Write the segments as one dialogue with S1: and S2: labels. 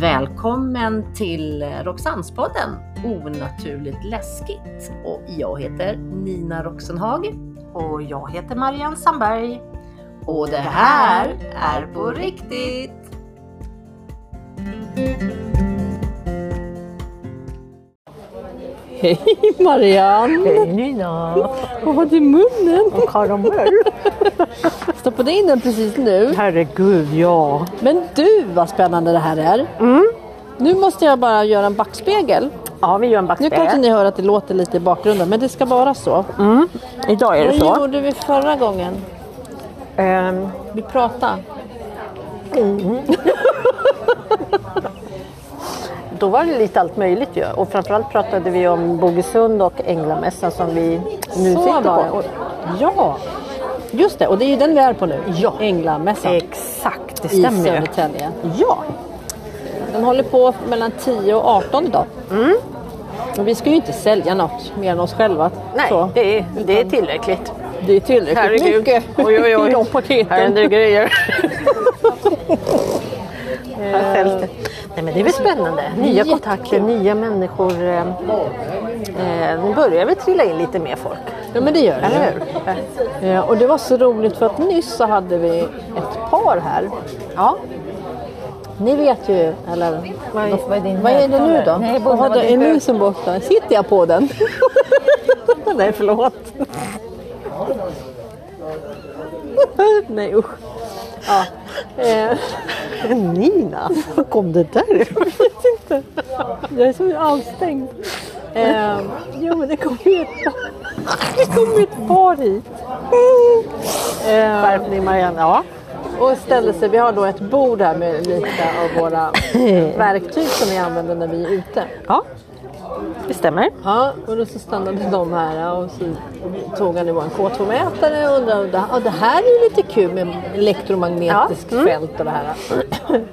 S1: Välkommen till Roxannespodden Onaturligt läskigt. Och jag heter Nina Roxenhag.
S2: Och jag heter Marianne Sandberg.
S1: Och det här är på riktigt!
S3: Hej Marianne!
S2: Hej Nina!
S3: Vad har du i munnen?
S2: Och karamell!
S3: Stoppade in den precis nu.
S2: Herregud, ja.
S3: Men du vad spännande det här är! Nu måste jag bara göra en backspegel.
S2: Ja, vi gör en
S3: Nu kanske
S2: bakspegel.
S3: ni hör att det låter lite i bakgrunden men det ska vara så.
S2: Mm. Idag är det
S3: Vad
S2: så.
S3: gjorde vi förra gången?
S2: Ehm,
S3: Vi pratade.
S2: då var det lite allt möjligt ju. Och framförallt pratade vi om Bogesund och Änglamässan som vi nu
S3: Så
S2: sitter
S3: var det.
S2: på.
S3: Och- Ja! Just det, och det är ju den vi är på nu.
S2: Ja.
S3: Änglamässan
S2: Exakt, det
S3: i
S2: stämmer ju.
S3: Södertälje.
S2: Ja,
S3: Den håller på mellan 10 och 18 idag.
S2: Mm.
S3: Och vi ska ju inte sälja något mer än oss själva.
S2: nej,
S3: Så.
S2: det är, det är tillräckligt.
S3: Det är tillräckligt mycket
S2: Oj, oj, oj.
S3: i de paketen.
S2: Här händer grejer. Här säljs det. Nej, men det är väl spännande. Nya
S3: Jättekul.
S2: kontakter, nya människor. eh, eh, Nu börjar vi trilla in lite mer folk.
S3: Ja men det gör
S2: Eller
S3: det.
S2: hur?
S3: Ja, Eh, och det var så roligt för att nyss så hade vi ett par här.
S2: Ja.
S3: Ni vet ju, eller
S2: Vad är, vad är, din
S3: vad är det nu då?
S2: Nej,
S3: Vad
S2: vad
S3: hade- är musen borta? Sitter jag på den?
S2: Nej, förlåt.
S3: Nej usch. Ja. Eh,
S2: Nina, var kom det där ifrån?
S3: jag är så avstängd. Eh, jo men det kom ju ett par, det kom ju ett par hit. Eh,
S2: Skärpning Marianne. Ja.
S3: och ställde sig, vi har då ett bord här med lite av våra verktyg som vi använder när vi är ute.
S2: ja, det stämmer.
S3: Ja, och då så stannade de här och så tog han i en K2-mätare och undrade om det, ja, det här är ju lite kul med elektromagnetiskt
S2: Ja, mm.
S3: fält och det här.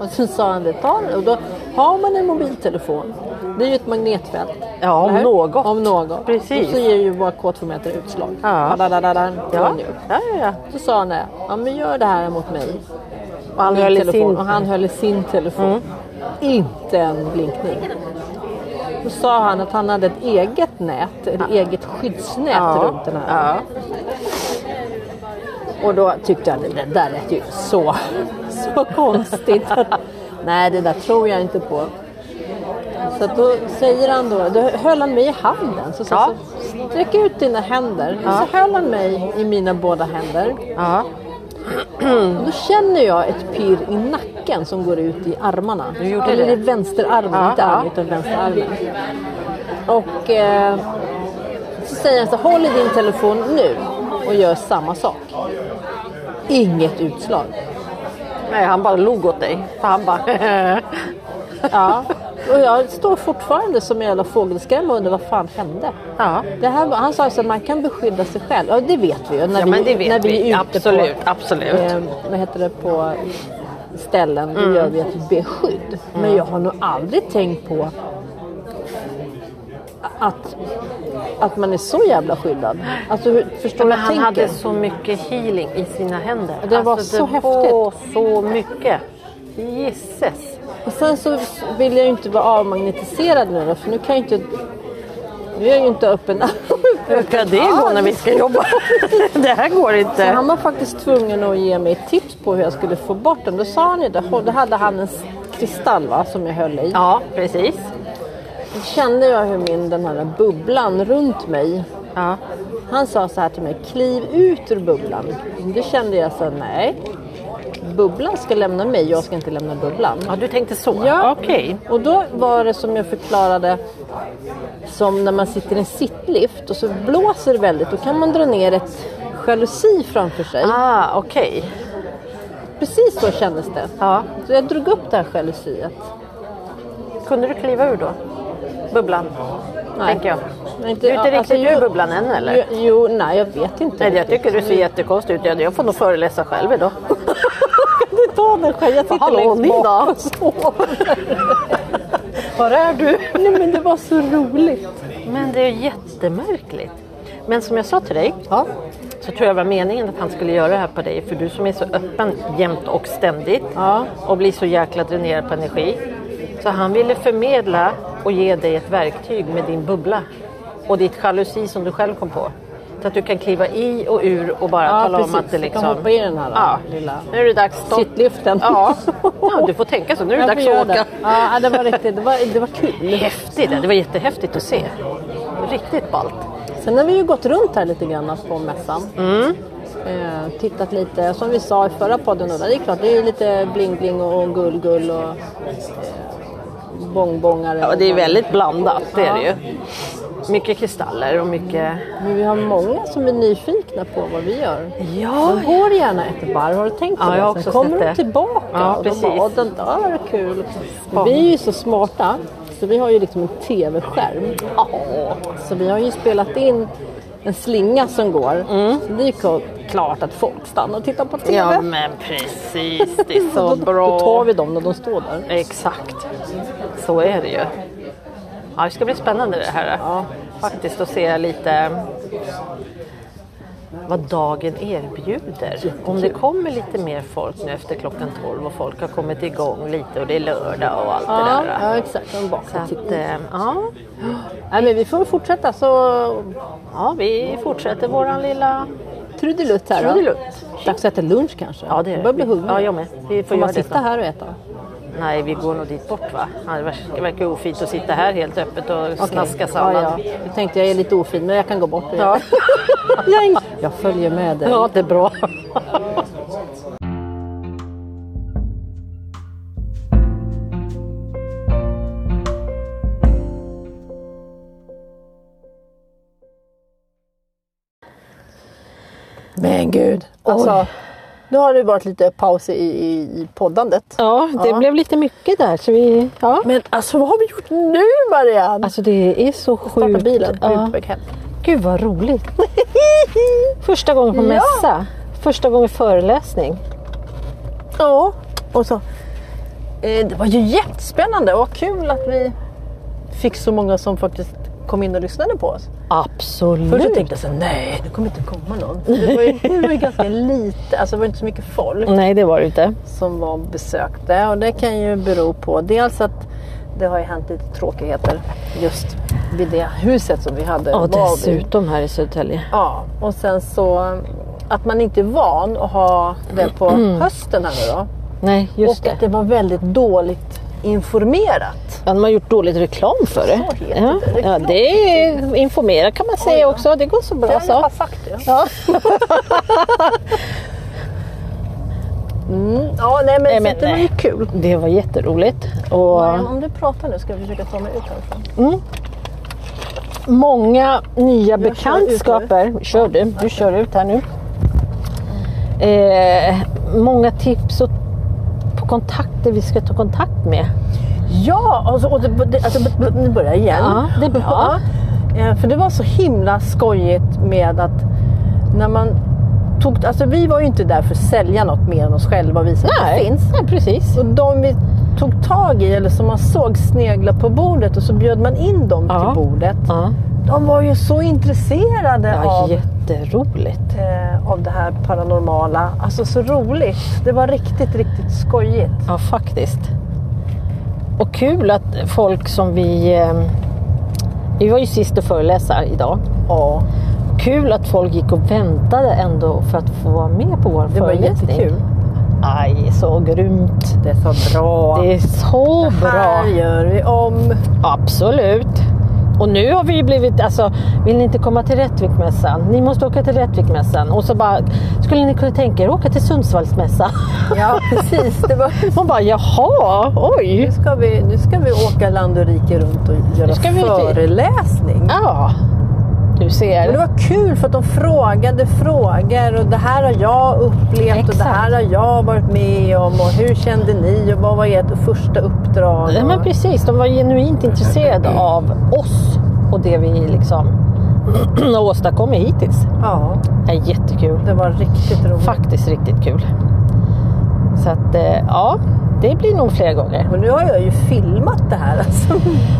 S3: Och så sa han det, ta den. och då har man en mobiltelefon, det är ju ett magnetfält.
S2: Ja, om
S3: Eller hur?
S2: något.
S3: Om något.
S2: Precis.
S3: Och så ger ju vår K2-mätare utslag.
S2: Ja.
S3: Badadadada,
S2: Ja,
S3: ja.
S2: ja, ja. ja.
S3: Så sa han det, ja men gör det här mot mig.
S2: Och han
S3: Min
S2: höll i
S3: telefon.
S2: sin- Mm.
S3: Och han höll i sin telefon. Inte en blinkning. Då sa han att han hade ett eget nät, ett eget skyddsnät
S2: Ah. Ja.
S3: runt den här.
S2: Ja.
S3: Och då tyckte jag att det där lät ju så, så konstigt. Nej, det där tror jag inte på. Så att då säger han då, då höll han mig i handen. Så, så,
S2: Ja.
S3: så sträck ut dina händer. Så höll han mig i mina båda händer.
S2: ja.
S3: Och Då känner jag ett pirr i nacken som går ut i armarna.
S2: Du gjorde
S3: Eller
S2: det?
S3: i vänsterarmen,
S2: Ja,
S3: inte
S2: ja.
S3: armen utan vänsterarmen. Och eh, så säger han så håll i din telefon nu och gör samma sak. Inget utslag.
S2: Nej, han bara log åt dig. För han bara...
S3: Ja. Och jag står fortfarande som en jävla fågelskrämma och undrar vad fan hände?
S2: ja.
S3: Det här, var- han sa så att man kan beskydda sig själv. Ja, det vet vi ju när,
S2: Ja,
S3: vi,
S2: men det vet
S3: när vi,
S2: vi.
S3: är ute
S2: Absolut,
S3: på,
S2: absolut. Mm.
S3: Eh, vad heter det, på ställen. Då gör vi ett beskydd. Men jag har nog aldrig tänkt på att, att man är så jävla skyddad. Alltså, hur, förstår du
S2: Men
S3: vad jag
S2: han
S3: tänker?
S2: hade så mycket healing i sina händer. Alltså,
S3: Det var så
S2: det var så mycket. Jisses.
S3: Och sen så vill jag ju inte vara avmagnetiserad nu då, för nu kan jag ju inte... Nu är jag ju inte öppen.
S2: Ja, det går när vi ska jobba. det här går
S3: Så
S2: inte.
S3: han var faktiskt tvungen att ge mig tips på hur jag skulle få bort den. Då sa han ju det. Då hade han en kristall va, som jag höll i.
S2: Ja, precis.
S3: Då kände jag hur min, den här bubblan runt mig.
S2: Ja.
S3: Han sa så här till mig, kliv ut ur bubblan. Då kände jag så här, nej. Bubblan ska lämna mig, jag ska inte lämna bubblan.
S2: ja, du tänkte så?
S3: Ja.
S2: Okej.
S3: Och då var det som jag förklarade som när man sitter i en sittlift och så blåser det väldigt. Då kan man dra ner ett jalusi framför sig.
S2: Ah, okej.
S3: Precis så kändes det.
S2: Ja.
S3: Så jag drog upp det här jalusiet.
S2: Kunde du kliva ur då? Bubblan?
S3: Nej.
S2: Tänker jag.
S3: Nej,
S2: Du
S3: inte-
S2: är inte
S3: ja,
S2: riktigt
S3: alltså,
S2: ur
S3: jo-
S2: bubblan än eller?
S3: Jo, jo, nej jag vet inte.
S2: Nej, jag tycker du ser jättekonstig ut. Jag jag får nog föreläsa själv idag.
S3: du ta den själv? Jag sitter
S2: Hallå,
S3: längst bak.
S2: Nina! Var är du?
S3: Nej men det var så roligt.
S2: Men det är jättemärkligt. Men som jag sa till dig
S3: Ja.
S2: så tror jag var meningen att han skulle göra det här på dig. För du som är så öppen jämt och ständigt
S3: Ja.
S2: och blir så jäkla dränerad på energi. Så han ville förmedla och ge dig ett verktyg med din bubbla och ditt jalusi som du själv kom på. Så att du kan kliva i och ur och bara
S3: Ja,
S2: tala
S3: precis.
S2: om att det
S3: Du kan
S2: liksom...
S3: hoppa i den här,
S2: ja.
S3: lilla-
S2: Nu är det dags... stopp.
S3: Sittlyften.
S2: Ja. ja, du får tänka så. Nu är det
S3: Jag
S2: dags
S3: får
S2: att
S3: göra
S2: åka.
S3: det. Ja, det var riktigt. Det var, det var kul.
S2: Häftigt, det var jättehäftigt att se. Riktigt ballt.
S3: Sen har vi ju gått runt här lite grann på mässan.
S2: Mm.
S3: Eh, tittat lite, som vi sa i förra podden, då, det är klart det är ju lite bling-bling och gull-gull och eh, bongbongare.
S2: Ja, det är väldigt blandat, det är det
S3: Ja.
S2: ju. Mycket kristaller och mycket...
S3: Men vi har många som är nyfikna på vad vi gör.
S2: Ja,
S3: De går gärna ett varv, har du tänkt på
S2: Ja,
S3: det?
S2: jag har
S3: Sen
S2: också
S3: kommer
S2: sett
S3: de
S2: det.
S3: tillbaka
S2: Ja,
S3: och
S2: precis.
S3: de bara, "Åh, den där är kul. Men vi är ju så smarta, så vi har ju liksom en tv-skärm. Så vi har ju spelat in en slinga som går. Så det är ju klart att folk stannar och tittar på tv.
S2: Mm. ja men precis. Det är
S3: då,
S2: så
S3: då tar
S2: bra.
S3: vi dem när de står där.
S2: Exakt. Så är det ju. Ja, det ska bli spännande det här. Faktiskt att se lite vad dagen erbjuder. Om det kommer lite mer folk nu efter klockan 12 och folk har kommit igång lite och det är lördag och allt
S3: Ja,
S2: det där.
S3: ja, exakt. De
S2: Så
S3: bakar och
S2: att,
S3: tittar.
S2: eh, ja,
S3: Nej, men vi får väl fortsätta så
S2: ja, vi fortsätter våran lilla
S3: trudelutt här. då.
S2: trudelutt.
S3: Dags att äta lunch kanske?
S2: Ja, det är det.
S3: Jag börjar bli hungrig.
S2: Ja, jag med. Vi får
S3: Får man
S2: göra det
S3: sitta
S2: snart.
S3: här och äta?
S2: Nej, vi går nog dit bort va? Ja, Det verkar- det verkar ofint att sitta här helt öppet och snaska sallad.
S3: Ja, ja. Jag tänkte jag är lite ofin, men jag kan gå bort. och göra det.
S2: Gäng.
S3: Jag följer med dig.
S2: Ja, det är bra.
S3: Men gud. Alltså, nu har det varit lite paus i, i, i poddandet.
S2: Ja, det blev lite mycket där. Så vi, ja.
S3: Men alltså vad har vi gjort nu Marianne?
S2: Alltså det är så sjukt.
S3: Starta bilen, Typ.
S2: Ja.
S3: ut på väg hem.
S2: Gud vad roligt. Första gången på mässa. Första gången föreläsning.
S3: Ja, och så. Eh, det var ju jättespännande och kul att vi fick så många som faktiskt kom in och lyssnade på oss.
S2: Absolut.
S3: Först så tänkte jag så här, nej det kommer inte komma någon. För Det var ju, det var ju ganska lite, alltså det var inte så mycket folk.
S2: Nej, det var det inte.
S3: som var besökte och det kan ju bero på dels att det har ju hänt lite tråkigheter just vid det huset som vi hade.
S2: Ja,
S3: var vid.
S2: dessutom här i Södertälje.
S3: Ja, och sen så att man inte är van att ha det på hösten här nu då.
S2: Nej, Mm. just
S3: och
S2: det.
S3: att det var väldigt dåligt informerat.
S2: Ja, de har gjort dåligt reklam för det.
S3: Så heter
S2: ja.
S3: det.
S2: Ja, det är informera kan man säga också. Det går så bra
S3: Jag har
S2: så.
S3: sagt det.
S2: Ja.
S3: Mm. Ja, nej men,
S2: Nej,
S3: så
S2: men
S3: det var ju
S2: nej.
S3: kul.
S2: Det var jätteroligt. Och
S3: Men om du pratar nu ska jag försöka ta mig ut härifrån.
S2: många nya
S3: Jag kör ut
S2: bekantskaper. Kör du, du kör ut här nu. Eh, många tips och på kontakter vi ska ta kontakt med.
S3: Ja, alltså, och det, det, alltså, nu börjar jag igen.
S2: Ja, det är bra.
S3: Ja. Eh, För det var så himla skojigt med att när man tog, alltså vi var ju inte där för att sälja något mer än oss själva och visa att det finns.
S2: nej precis.
S3: Så de vi tog tag i eller som man såg snegla på bordet och så bjöd man in dem
S2: Ja.
S3: till bordet.
S2: Ja,
S3: De var ju så intresserade
S2: ja
S3: av,
S2: jätteroligt.
S3: eh, av det här paranormala. Alltså så roligt. Det var riktigt, riktigt skojigt.
S2: Ja, faktiskt. Och kul att folk som vi... Eh, vi var ju sist att föreläsa idag.
S3: Ja,
S2: Kul att folk gick och väntade ändå för att få vara med på vår
S3: det var
S2: föreläsning.
S3: jättekul.
S2: Aj, så grymt.
S3: Det är så bra.
S2: Det är så bra.
S3: Här gör vi om.
S2: Absolut. Och nu har vi ju blivit, alltså vill ni inte komma till Rättvikmässan? Ni måste åka till Rättvikmässan. Och så bara, skulle ni kunna tänka er att åka till Sundsvallsmässan?
S3: Ja, precis. Det var...
S2: Man bara, jaha,
S3: nu,
S2: oj.
S3: ska vi, nu ska vi åka land och rike runt och göra
S2: Nu ska vi till-
S3: föreläsning.
S2: Ja, du
S3: Men det
S2: ser.
S3: var kul för att de frågade frågor och det här har jag upplevt och det
S2: Exakt.
S3: här har jag varit med om och hur kände ni och vad var ert första uppdrag?
S2: Ja, men
S3: och...
S2: precis, de var genuint intresserade
S3: Mm.
S2: av oss och det vi liksom har åstadkommit hittills.
S3: ja
S2: Det är jättekul.
S3: det var riktigt roligt.
S2: Faktiskt riktigt kul. Så att, eh, ja, det blir nog fler gånger.
S3: Och nu har jag ju filmat det här. Alltså.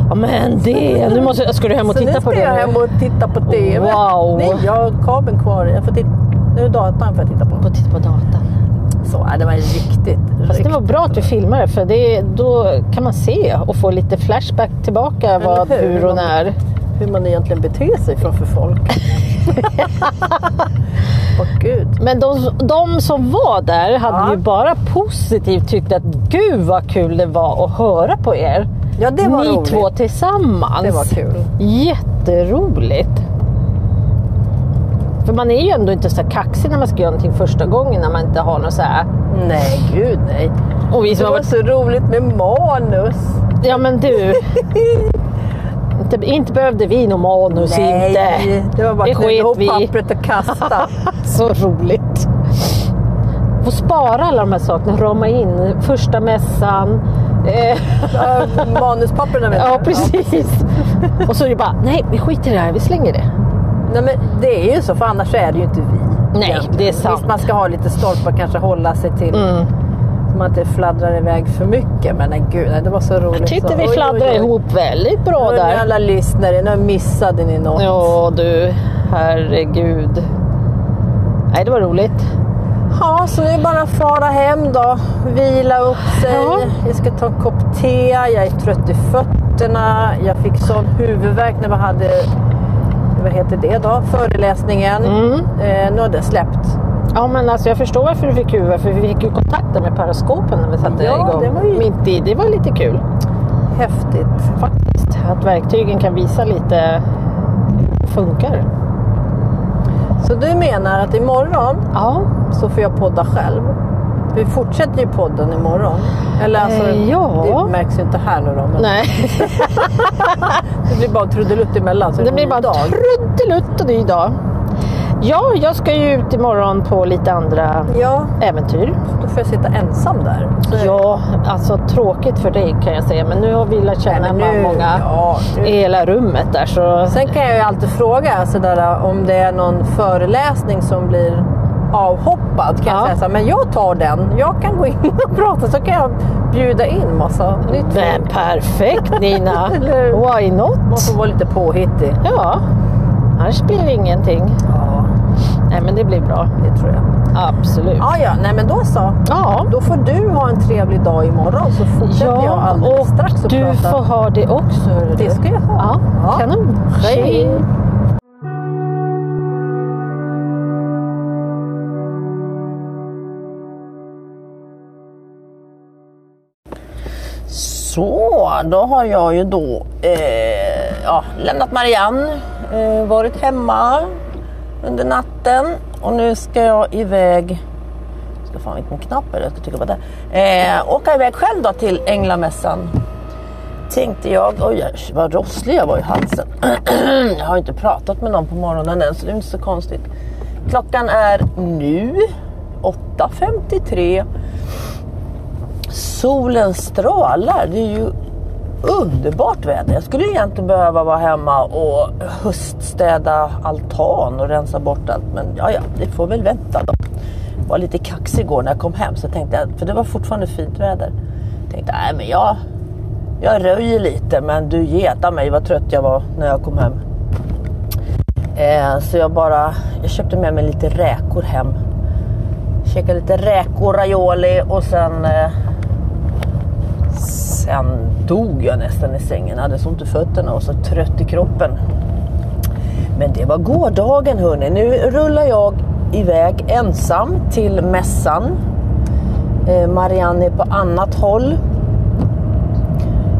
S2: Ja men det, nu måste, ska du hem och
S3: Så nu
S2: titta
S3: ska
S2: på det
S3: jag
S2: nu?
S3: hem och titta på TV.
S2: Wow.
S3: Nej, jag har kabeln kvar. Jag får titta. nu datorn för att titta på.
S2: Och titta på datan.
S3: Så, ja, det var riktigt,
S2: Fast det
S3: riktigt.
S2: var bra att du filmade för det, då kan man se och få lite flashback tillbaka vad,
S3: hur?
S2: hur och när.
S3: Hur man egentligen beter sig framför folk. Åh gud.
S2: Men de, de som var där hade
S3: Ja.
S2: ju bara positivt tyckt att gud vad kul det var att höra på er.
S3: Ja, det var
S2: Ni
S3: roligt.
S2: två tillsammans.
S3: Det var kul.
S2: Jätteroligt. För man är ju ändå inte så här kaxig när man ska göra någonting första gången när man inte har något så här.
S3: Nej, gud nej.
S2: Och vi
S3: Det
S2: som har
S3: var
S2: varit...
S3: så roligt med manus.
S2: Ja men du. inte, inte behövde vi någon manus inte.
S3: det var bara
S2: Det
S3: att knäppa
S2: sket
S3: ihop
S2: vi i.
S3: pappret och kasta.
S2: Så roligt. Få spara alla de här sakerna, rama in första mässan. Eh,
S3: Ja, Manuspapperna menar
S2: ja
S3: jag.
S2: precis. Och så är det bara, nej vi skiter i det här, vi slänger det.
S3: Nej, men det är ju så, för annars är det ju inte vi.
S2: Nej,
S3: egentligen.
S2: det är sant. Mm.
S3: Visst, man ska ha lite stolpar kanske hålla sig till. Så man inte fladdrar iväg för mycket. Men nej, gud, nej, det var så roligt.
S2: Jag tyckte
S3: så,
S2: vi
S3: oj, oj,
S2: fladdrar
S3: oj.
S2: ihop väldigt bra
S3: Nu
S2: där.
S3: alla lyssnare, nu missade ni något.
S2: Ja du, herregud. Nej det var roligt.
S3: Ja, så det är bara att fara hem då. Vila upp sig.
S2: Ja.
S3: Jag ska ta en kopp te. Jag är trött i fötterna. Jag fick sån huvudvärk när vi hade vad heter det då? Föreläsningen.
S2: Mm.
S3: Eh, nu har det släppt.
S2: Ja men alltså jag förstår varför du fick huvud, för vi fick ju kontakten med paraskopen när vi satte
S3: Ja,
S2: igång.
S3: det var ju-
S2: Mitt i, det var lite kul
S3: Häftigt.
S2: faktiskt. Att verktygen kan visa lite hur det funkar.
S3: Så du menar att imorgon
S2: Ja,
S3: så får jag podda själv? Vi fortsätter ju podden imorgon. Eller alltså,
S2: Eh, ja.
S3: det märks ju inte här nu då. Men
S2: nej.
S3: Det blir bara trudelutt emellan. Så
S2: Det blir bara trudelutt och ny dag. Ja, jag ska ju ut imorgon på lite andra
S3: Ja,
S2: äventyr.
S3: då får jag sitta ensam där. Så-
S2: Ja, alltså tråkigt för dig kan jag säga, men nu har vi lärt känna
S3: Nej, men nu-
S2: många
S3: ja, nu-
S2: i hela rummet där så...
S3: Eh, Sen kan jag ju alltid fråga sådär, om det är någon föreläsning som blir avhoppad. Kan
S2: Ja.
S3: jag säga såhär, men jag tar den. Jag kan gå in och prata så kan jag bjuda in massa nytt
S2: Men
S3: folk.
S2: perfekt Nina!
S3: Eller-
S2: Why
S3: Man
S2: not?
S3: får vara lite påhittig.
S2: Ja, annars blir det ingenting.
S3: Ja,
S2: Nej men det blir bra,
S3: det tror jag.
S2: absolut.
S3: Ah, Ja, ja, nej men då så.
S2: Ja,
S3: Då får du ha en trevlig dag imorgon så fortsätter jag
S2: ja
S3: alldeles
S2: och
S3: strax att
S2: du
S3: prata.
S2: får ha det också. hörru du.
S3: Det ska jag ha.
S2: Ja,
S3: Ja.
S2: kanon.
S3: Hej.
S2: Tjing.
S3: Så, då har jag ju då eh, ja, lämnat Marianne, eh, varit hemma under natten och nu ska jag iväg, ska fan vilken knapp är det jag ska trycka på där, eh, åka iväg själv då till Änglamässan. Tänkte jag, oj äsch, vad rosslig jag var i halsen. jag har inte pratat med någon på morgonen än så det är inte så konstigt. Klockan är nu 8.53 Solen strålar. Det är ju underbart väder. Jag skulle egentligen behöva vara hemma och höststäda altan och rensa bort allt. Men ja, ja, det får väl vänta då. Jag var lite kaxig igår när jag kom hem. Så tänkte jag, för det var fortfarande fint väder. Jag tänkte, nej men jag, jag röjer lite. Men du geta mig vad trött jag var när jag kom hem. Eh, så jag bara, jag köpte med mig lite räkor hem. Käkade lite räkor, ravioli och sen eh, Sen dog jag nästan i sängen. Jag hade så ont i fötterna och så trött i kroppen. Men det var gårdagen hörni. Nu rullar jag iväg ensam till mässan. Eh, Marianne är på annat håll.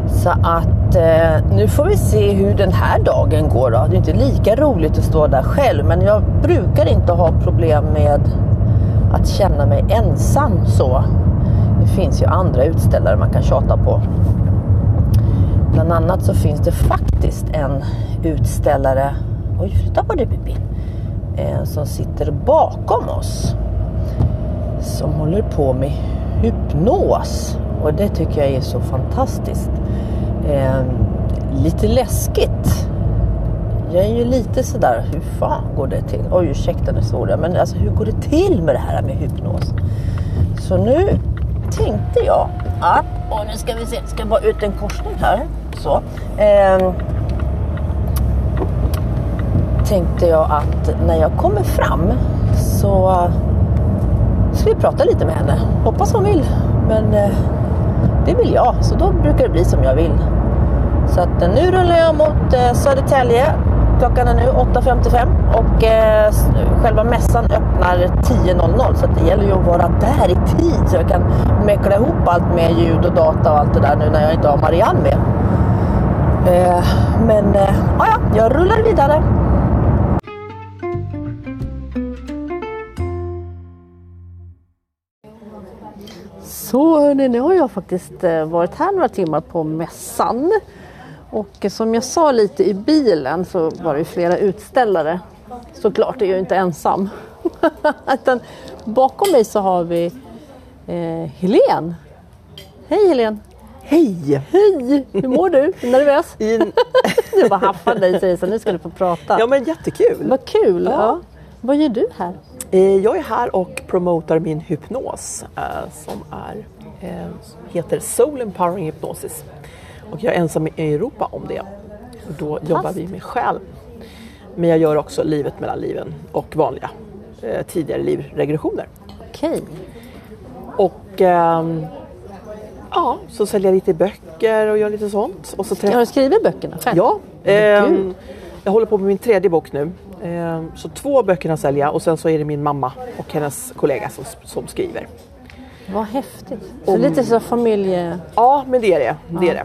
S3: Så att eh, nu får vi se hur den här dagen går då. Det är inte lika roligt att stå där själv men jag brukar inte ha problem med att känna mig ensam så. Det finns ju andra utställare man kan tjata på. Bland annat så finns det faktiskt en utställare, oj flytta på dig Pippi, eh, som sitter bakom oss. Som håller på med hypnos och det tycker jag är så fantastiskt. Eh, lite läskigt. Jag är ju lite sådär, hur fan går det till? Oj ursäkta nu svor jag, men alltså hur går det till med det här med hypnos? Så nu tänkte jag att... Och nu ska vi se, ska bara ut en korsning här. Så. Ehm, tänkte jag att när jag kommer fram så eh, ska vi prata lite med henne. Hoppas hon vill. Men eh, det vill jag, så då brukar det bli som jag vill. Så att, eh, nu rullar jag mot eh, Södertälje. Klockan är nu 8.55 och eh, s- själva mässan öppnar 10.00 så att det gäller ju att vara där i tid så jag kan meckla ihop allt med ljud och data och allt det där nu när jag inte har Marianne med. Eh, men eh, ja, ja, jag rullar vidare. Så hörni, nu har jag faktiskt eh, varit här några timmar på mässan. Och eh, som jag sa lite i bilen så var det ju flera utställare. Såklart är jag ju inte ensam. Utan bakom mig så har vi eh, Helen. Hej Helen!
S4: Hej!
S3: Hej! Hur mår du? Är du nervös?
S4: I-
S3: Du bara haffade dig säger så nu ska du få prata.
S4: Ja men jättekul!
S3: Vad kul! Ja. Vad gör du här?
S4: Eh, Jag är här och promotar min hypnos eh, som är, eh, heter Soul Empowering Hypnosis. Och jag är ensam i Europa om det. Och då jobbar vi med själ. Men jag gör också livet mellan liven och vanliga eh, tidigare livregressioner.
S3: Okej.
S4: Och ehm, ja, så säljer jag lite böcker och gör lite sånt. Och så träffar
S3: Har du skrivit böckerna själv?
S4: Ja,
S3: Men
S4: ehm,
S3: gud.
S4: jag håller på med min tredje bok nu. Ehm, så två böcker att sälja och sen så är det min mamma och hennes kollega som, som skriver.
S3: Vad häftigt. Så lite så familje...
S4: Ja, men det är det. det, är det.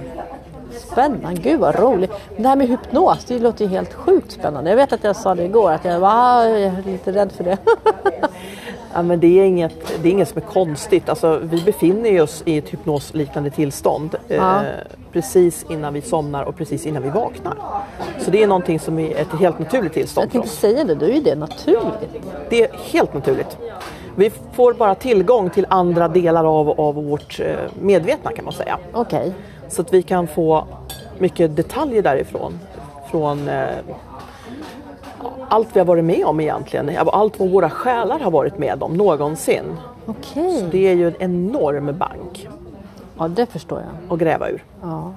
S3: Spännande, gud vad roligt. Men Det här med hypnos, det låter ju helt sjukt spännande. Jag vet att jag sa det igår, att jag var "Ah, jag är lite rädd för det.
S4: Ja, men det, är inget, det är inget som är konstigt. Alltså, vi befinner oss i ett hypnosliknande tillstånd eh,
S3: Ja.
S4: precis innan vi somnar och precis innan vi vaknar. Så det är någonting som är ett helt naturligt tillstånd
S3: Jag
S4: för
S3: tänkte
S4: oss.
S3: säga det, då är ju det naturligt.
S4: Det är helt naturligt. Vi får bara tillgång till andra delar av, av vårt eh, medvetna kan man säga.
S3: Okej.
S4: Så att vi kan få mycket detaljer därifrån. Från eh, allt vi har varit med om egentligen. Allt vad våra själar har varit med om någonsin.
S3: Okej.
S4: Det är ju en enorm bank
S3: Ja, det förstår jag.
S4: att gräva ur.
S3: Ja.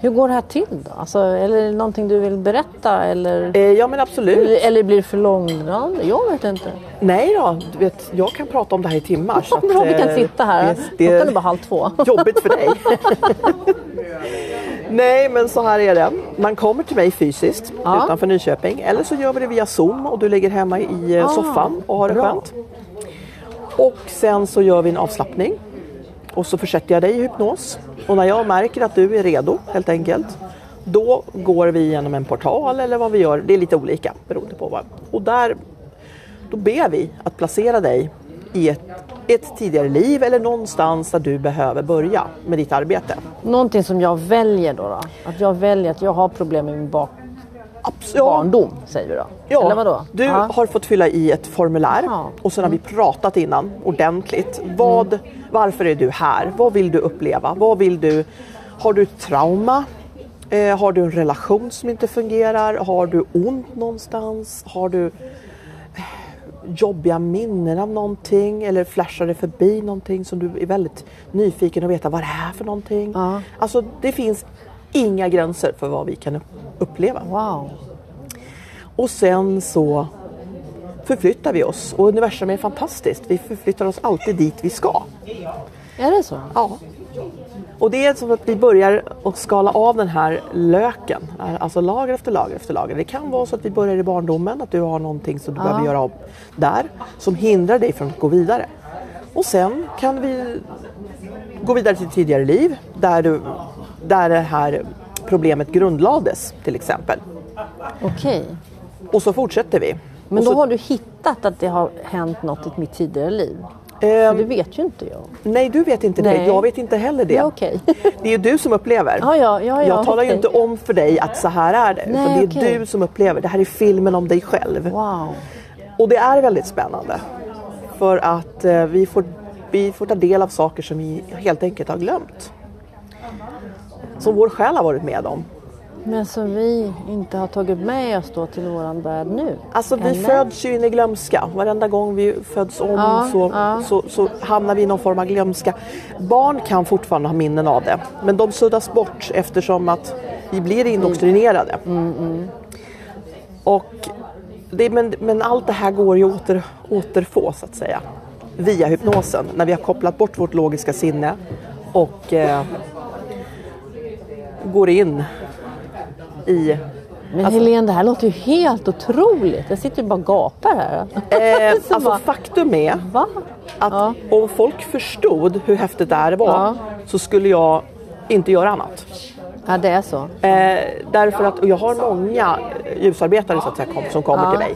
S3: Hur går det här till då? Alltså, eller är det någonting du vill berätta? Eller,
S4: Eh, ja men absolut.
S3: eller, eller blir det för långdragande? Jag vet inte.
S4: Nej då, du vet, jag kan prata om det här i timmar. så
S3: Vad bra
S4: att,
S3: vi kan
S4: eh,
S3: sitta här.
S4: det-
S3: Klockan är bara halv två.
S4: Jobbigt för dig. Nej, men så här är det. Man kommer till mig fysiskt
S3: Ja.
S4: utanför Nyköping eller så gör vi det via Zoom och du ligger hemma i eh,
S3: Ah,
S4: soffan och har det
S3: bra.
S4: skönt. Och sen så gör vi en avslappning och så försätter jag dig i hypnos. Och när jag märker att du är redo helt enkelt då går vi genom en portal eller vad vi gör. Det är lite olika beroende på vad. Och där då ber vi att placera dig i ett, ett tidigare liv eller någonstans där du behöver börja med ditt arbete.
S3: Någonting som jag väljer då, då? Att jag väljer att jag har problem med min bak-
S4: Abs- ja,
S3: barndom, säger vi då?
S4: ja.
S3: Eller vadå?
S4: Du
S3: Ja.
S4: har fått fylla i ett formulär
S3: Ja. Mm.
S4: och sen har vi pratat innan ordentligt. Vad, Varför är du här? Vad vill du uppleva? Vad vill du? Har du ett trauma? Eh, har du en relation som inte fungerar? Har du ont någonstans? Har du eh, jobbiga minnen av någonting eller flashar det förbi någonting som du är väldigt nyfiken att veta vad det är för någonting.
S3: Ja.
S4: Alltså det finns inga gränser för vad vi kan upp- uppleva.
S3: Wow.
S4: Och sen så förflyttar vi oss och universum är fantastiskt. Vi förflyttar oss alltid dit vi ska.
S3: Är det så?
S4: Ja. Och det är som att vi börjar att skala av den här löken, alltså lager efter lager efter lager. Det kan vara så att vi börjar i barndomen, att du har någonting som du behöver göra av där som hindrar dig från att gå vidare. Och sen kan vi gå vidare till tidigare liv där, du, där det här problemet grundlades till exempel.
S3: Okej.
S4: Och så fortsätter vi.
S3: Men
S4: Och
S3: då
S4: så,
S3: har du hittat att det har hänt något i mitt tidigare liv?
S4: Ehm,
S3: För det vet ju inte jag.
S4: Nej, du vet inte
S3: Nej.
S4: det. Jag vet inte heller det.
S3: Ja, okej.
S4: Det är ju du som upplever.
S3: Ja, ja, ja, ja,
S4: jag talar ju
S3: okej.
S4: inte om för dig att så här är det. utan
S3: Nej,
S4: det är
S3: okej.
S4: du som upplever. Det här är filmen om dig själv.
S3: Wow.
S4: Och det är väldigt spännande. För att eh, vi, får, vi får ta del av saker som vi helt enkelt har glömt. Som vår själ har varit med om.
S3: Men som vi inte har tagit med oss då till våran värld nu?
S4: Alltså vi
S3: Eller?
S4: föds ju in i glömska. Varenda gång vi föds om
S3: Ja,
S4: så,
S3: ja.
S4: Så, så hamnar vi i någon form av glömska. Barn kan fortfarande ha minnen av det. Men de suddas bort
S3: Mm.
S4: eftersom att vi blir indoktrinerade. Och det, men, men allt det här går ju att åter, återfå så att säga via hypnosen när vi har kopplat bort vårt logiska sinne och eh, går in i eh,
S3: Men
S4: Alltså-
S3: Helene, det här låter ju helt otroligt. Jag sitter ju bara och gapar här.
S4: Eh,
S3: Så
S4: alltså
S3: bara,
S4: faktum är
S3: va?
S4: att
S3: Ja.
S4: om folk förstod hur häftigt det här var
S3: Ja.
S4: så skulle jag inte göra annat.
S3: Ja, det är så.
S4: Eh, därför att, och jag har många ljusarbetare så att säga, kom, som kommer
S3: Ja.
S4: till mig.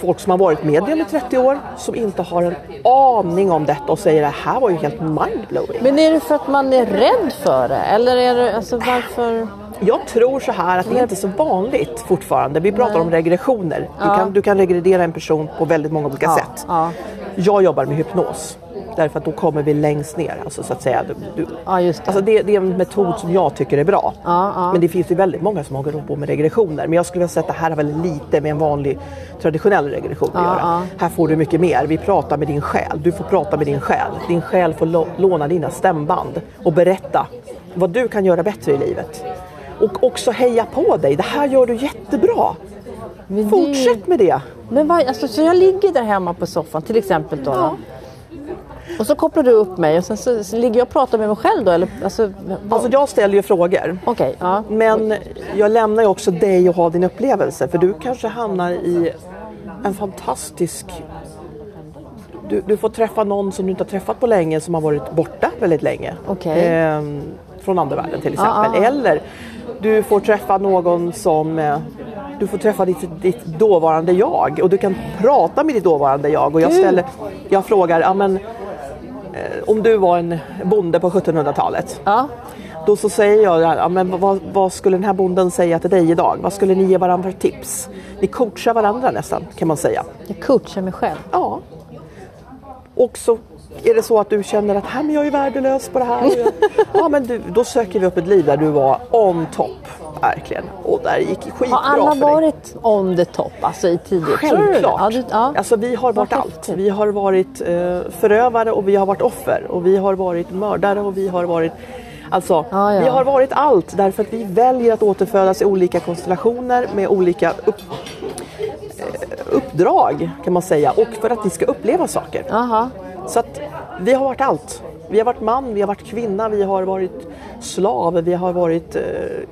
S4: Folk som har varit medium i 30 år som inte har en aning om detta och säger det här var ju helt mindblowing.
S3: Men är det för att man är rädd för det? Eller är det, alltså varför?
S4: Jag tror så här att det är inte så vanligt fortfarande. Vi pratar om regressioner. Du,
S3: Ja.
S4: kan, du kan regredera en person på väldigt många olika sätt.
S3: Ja,
S4: Jag jobbar med hypnos. Därför att då kommer vi längst ner. Alltså, så att säga. Du, du,
S3: ja just det.
S4: Alltså det, det är en metod som jag tycker är bra.
S3: Ja, ja.
S4: Men det finns ju väldigt många som håller på med regressioner. Men jag skulle vilja säga att det här har väldigt lite med en vanlig traditionell regression
S3: Ja,
S4: att göra.
S3: ja.
S4: Här får du mycket mer. Vi pratar med din själ. Du får prata med din själ. Din själ får lo- låna dina stämband och berätta vad du kan göra bättre i livet. Och också heja på dig. Det här gör du jättebra.
S3: Men det är ju-
S4: Fortsätt med det.
S3: Men vad, alltså, så jag ligger där hemma på soffan till exempel då. då. Och så kopplar du upp mig och sen så, så ligger jag och pratar med mig själv då? Eller, alltså, vad-
S4: Alltså jag ställer ju frågor.
S3: Okej, ja.
S4: Men jag lämnar ju också dig att ha din upplevelse för du kanske hamnar i en fantastisk... Du, du får träffa någon som du inte har träffat på länge som har varit borta väldigt länge.
S3: Okej.
S4: Ehm, från andevärlden till exempel.
S3: ja, ja.
S4: Eller du får träffa någon som... eh, Du får träffa ditt, ditt dåvarande jag och du kan prata med ditt dåvarande jag. Och jag, ställer, jag frågar, ja, men, eh, om du var en bonde på 1700-talet,
S3: ja.
S4: då så säger jag, ja, men vad, vad skulle den här bonden säga till dig idag? Vad skulle ni ge varandra för tips? Ni coachar varandra nästan kan man säga.
S3: Jag coachar mig själv.
S4: Ja. Och så är det så att du känner att här, men jag är värdelös på det här. ja, men du, då söker vi upp ett liv där du var on top. Verkligen. Och där gick det skitbra
S3: Har alla
S4: för dig.
S3: varit on the top, alltså i tidigt?
S4: Självklart.
S3: Ja, du, ja.
S4: Alltså, vi har varit
S3: Vad
S4: allt.
S3: häftigt.
S4: Vi har varit eh, förövare och vi har varit offer och vi har varit mördare och vi har varit Alltså,
S3: Ja, ja.
S4: vi har varit allt därför att vi väljer att återfödas i olika konstellationer med olika upp, eh, uppdrag kan man säga och för att vi ska uppleva saker.
S3: Aha.
S4: Så att vi har varit allt. Vi har varit man, vi har varit kvinna, vi har varit slav, vi har varit eh,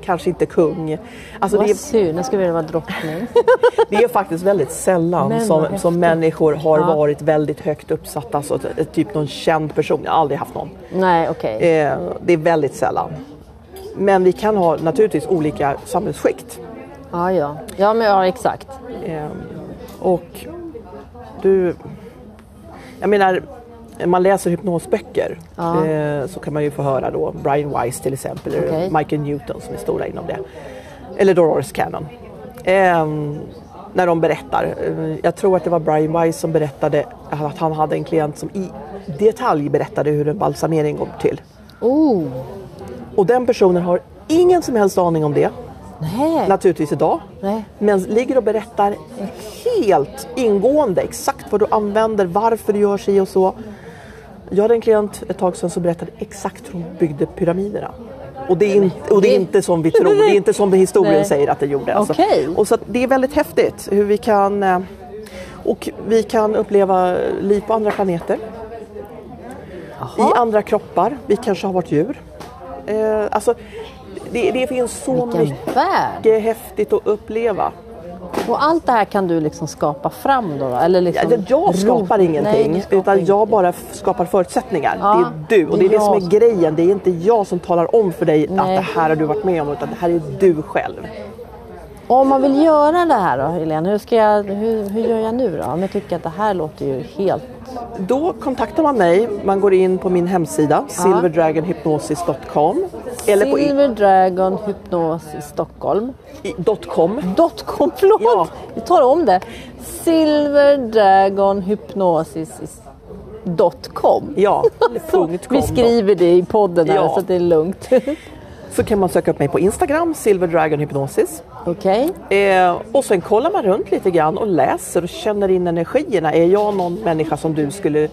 S4: kanske inte kung. Alltså, det
S3: Vad
S4: är
S3: synd, jag skulle vilja vara drottning.
S4: det är faktiskt väldigt sällan
S3: Men vad
S4: som,
S3: häftigt.
S4: som människor har
S3: Ja.
S4: varit väldigt högt uppsatta, så att, eh, typ någon känd person. Jag har aldrig haft någon.
S3: Nej, okej.
S4: Eh, det är väldigt sällan. Men vi kan ha naturligtvis olika samhällsskikt.
S3: Ja, ja. Ja, men ja, exakt.
S4: Eh, och du... Jag menar, när man läser hypnosböcker
S3: Ja.
S4: eh, så kan man ju få höra då Brian Weiss till exempel,
S3: Okej.
S4: eller Michael Newton som är stora inom det. Eller Dolores Cannon. Eh, när de berättar. Eh, Jag tror att det var Brian Weiss som berättade att han hade en klient som i detalj berättade hur en balsamering går till.
S3: Oh,
S4: Och den personen har ingen som helst aning om det
S3: nej.
S4: naturligtvis idag.
S3: Nej.
S4: Men ligger och berättar helt ingående exakt vad du använder, varför du gör sig och så. Jag hade en klient ett tag sedan som berättade exakt hur hon byggde pyramiderna. Och det, är inte, och det är inte som vi tror, det är inte som historien
S3: Nej.
S4: säger att det gjorde. alltså.
S3: Okej.
S4: Och så att det är väldigt häftigt hur vi kan eh, och vi kan uppleva liv på andra planeter. I andra kroppar. Vi kanske har varit djur. Eh, alltså, det, det finns så
S3: Vilken
S4: mycket
S3: värld!
S4: mycket häftigt att uppleva.
S3: Och allt det här kan du liksom skapa fram då? då? Eller
S4: Ja,
S3: liksom
S4: Jag, Alltså, jag
S3: ro-
S4: skapar ingenting
S3: Nej, du skapar
S4: utan jag
S3: ingenting.
S4: bara f- skapar förutsättningar.
S3: Ja,
S4: det är du och det är
S3: det är
S4: det som
S3: jag
S4: är grejen. Det är inte jag som talar om för dig att
S3: Nej.
S4: det här har du varit med om utan det här är du själv.
S3: Om man vill göra det här då, Helene, hur, ska jag, hur, hur gör jag nu då? Om jag tycker att det här låter ju helt...
S4: Då kontaktar man mig. Man går in på min hemsida silverdragonhypnosis.com eller på i,
S3: Silver Dragon Hypnos i Stockholm.
S4: i, dot .com.
S3: Dotcom, förlåt!
S4: Ja.
S3: Vi tar om det. Silver Dragon Hypnosis i s- dot com.
S4: Ja, eller punkt com
S3: Vi
S4: då.
S3: skriver det i podden här
S4: Ja.
S3: så att det är lugnt. Okej?
S4: Så kan man söka upp mig på Instagram, silverdragonhypnosis. Eh, och sen kollar man runt lite grann och läser och känner in energierna. Är jag någon människa som du skulle...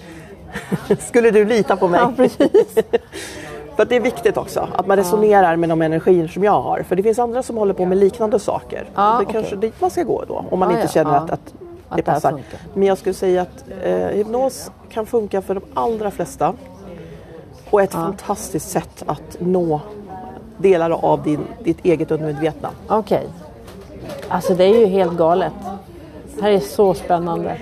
S4: skulle du lita på mig?
S3: Ja, precis.
S4: För att det är viktigt också att man resonerar med de energier som jag har. För det finns andra som håller på med liknande saker.
S3: Ja,
S4: det är
S3: okej.
S4: kanske dit man ska gå då om man
S3: Ja,
S4: inte
S3: ja,
S4: känner
S3: ja.
S4: att, att det
S3: det här
S4: passar.
S3: funkar.
S4: Men jag skulle säga att eh, hypnos kan funka för de allra flesta. Och ett fantastiskt sätt att nå delar av din, ditt eget undermedvetna.
S3: Okej. Alltså det är ju helt galet. Det här är så spännande.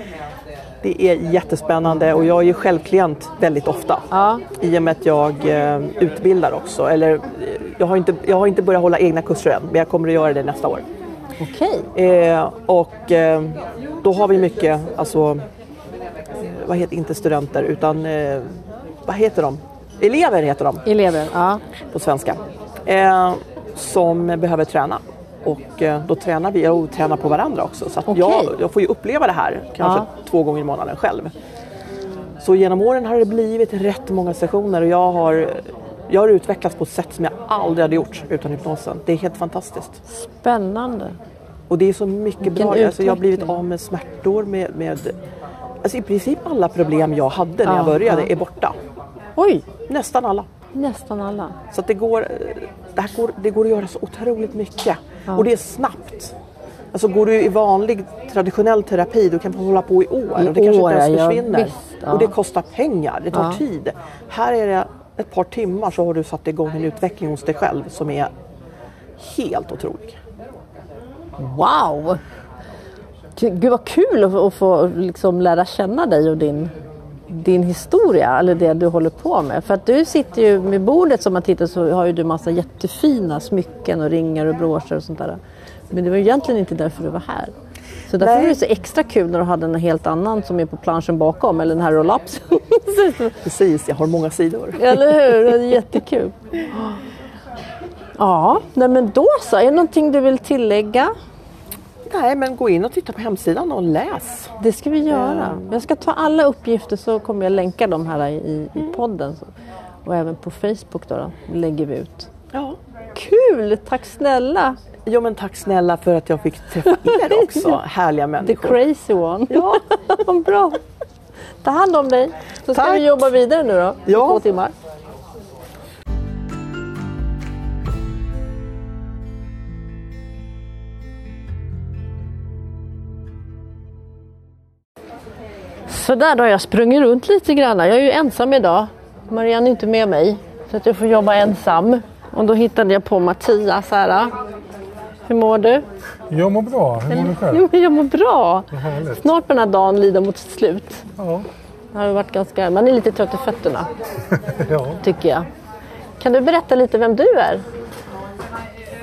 S4: Det är jättespännande och jag är ju själv klient väldigt ofta.
S3: Ja.
S4: I och med att jag eh, utbildar också. Eller, eh, jag, har inte, jag har inte börjat hålla egna kurser än men jag kommer att göra det nästa år.
S3: Okej.
S4: Eh, och eh, då har vi mycket, alltså, eh, vad heter inte studenter utan eh, vad heter de? Elever heter de
S3: Elever, ja.
S4: på svenska. Eh, som behöver träna. Och eh, då tränar vi och tränar på varandra också. Så att
S3: Okej.
S4: jag, jag får ju uppleva det här kanske två gånger i månaden själv. Så genom åren har det blivit rätt många sessioner och jag har, jag har utvecklats på ett sätt som jag aldrig hade gjort utan hypnosen. Det är helt fantastiskt.
S3: Spännande.
S4: Och det är så mycket bra. Alltså jag har blivit
S3: utveckling.
S4: av med smärtor med, med alltså i princip alla problem jag hade när jag
S3: Ja,
S4: började
S3: ja.
S4: är borta.
S3: Oj,
S4: Nästan alla.
S3: nästan alla.
S4: Så att det, går, eh, det, här går, det går att göra så otroligt mycket. Och det är snabbt. Alltså går du i vanlig traditionell terapi då kan man hålla på i år
S3: I
S4: och det kanske
S3: år,
S4: inte ens
S3: ja,
S4: försvinner.
S3: visst, ja.
S4: Och det kostar pengar, det tar
S3: Ja.
S4: tid. Här är det ett par timmar så har du satt igång en utveckling hos dig själv som är helt otrolig.
S3: Wow! Ty- Gud vad kul att, att få liksom lära känna dig och din, din historia, eller det du håller på med. För att du sitter ju med bordet som man tittar så har ju du massa jättefina smycken och ringar och broscher och sånt där. Men det var ju egentligen inte därför du var här. Så därför
S4: Nej.
S3: var det så extra kul när du hade en helt annan som är på planschen bakom, eller den här rollapsen.
S4: Precis, jag har många sidor.
S3: Eller hur? Det är jättekul. Ja, nej men då så. Är det någonting du vill tillägga?
S4: Nej, men gå in och titta på hemsidan och läs.
S3: Det ska vi göra. Jag ska ta alla uppgifter så kommer jag länka dem här i, i podden. Så- Och även på Facebook då, då lägger vi ut.
S4: Ja.
S3: Kul! Tack snälla!
S4: Jo, men tack snälla för att jag fick träffa er också, härliga
S3: The
S4: människor.
S3: crazy one. Ja. Bra! Ta hand om dig. Så ska
S4: Tack.
S3: vi jobba vidare nu då. i
S4: Ja.
S3: Två timmar. Så där då, jag har sprungit runt lite grann. Jag är ju ensam idag. Marianne är inte med mig. Så att jag får jobba ensam. Och då hittade jag på Mattias här. Hur mår du?
S5: Jag mår bra. Hur mår du själv?
S3: Jo, jag mår bra.
S5: Vad härligt.
S3: Snart börjar den här dagen lida mot sitt slut.
S5: Ja.
S3: Det Har varit ganska, man är lite trött i fötterna,
S5: Ja.
S3: tycker jag. Kan du berätta lite vem du är?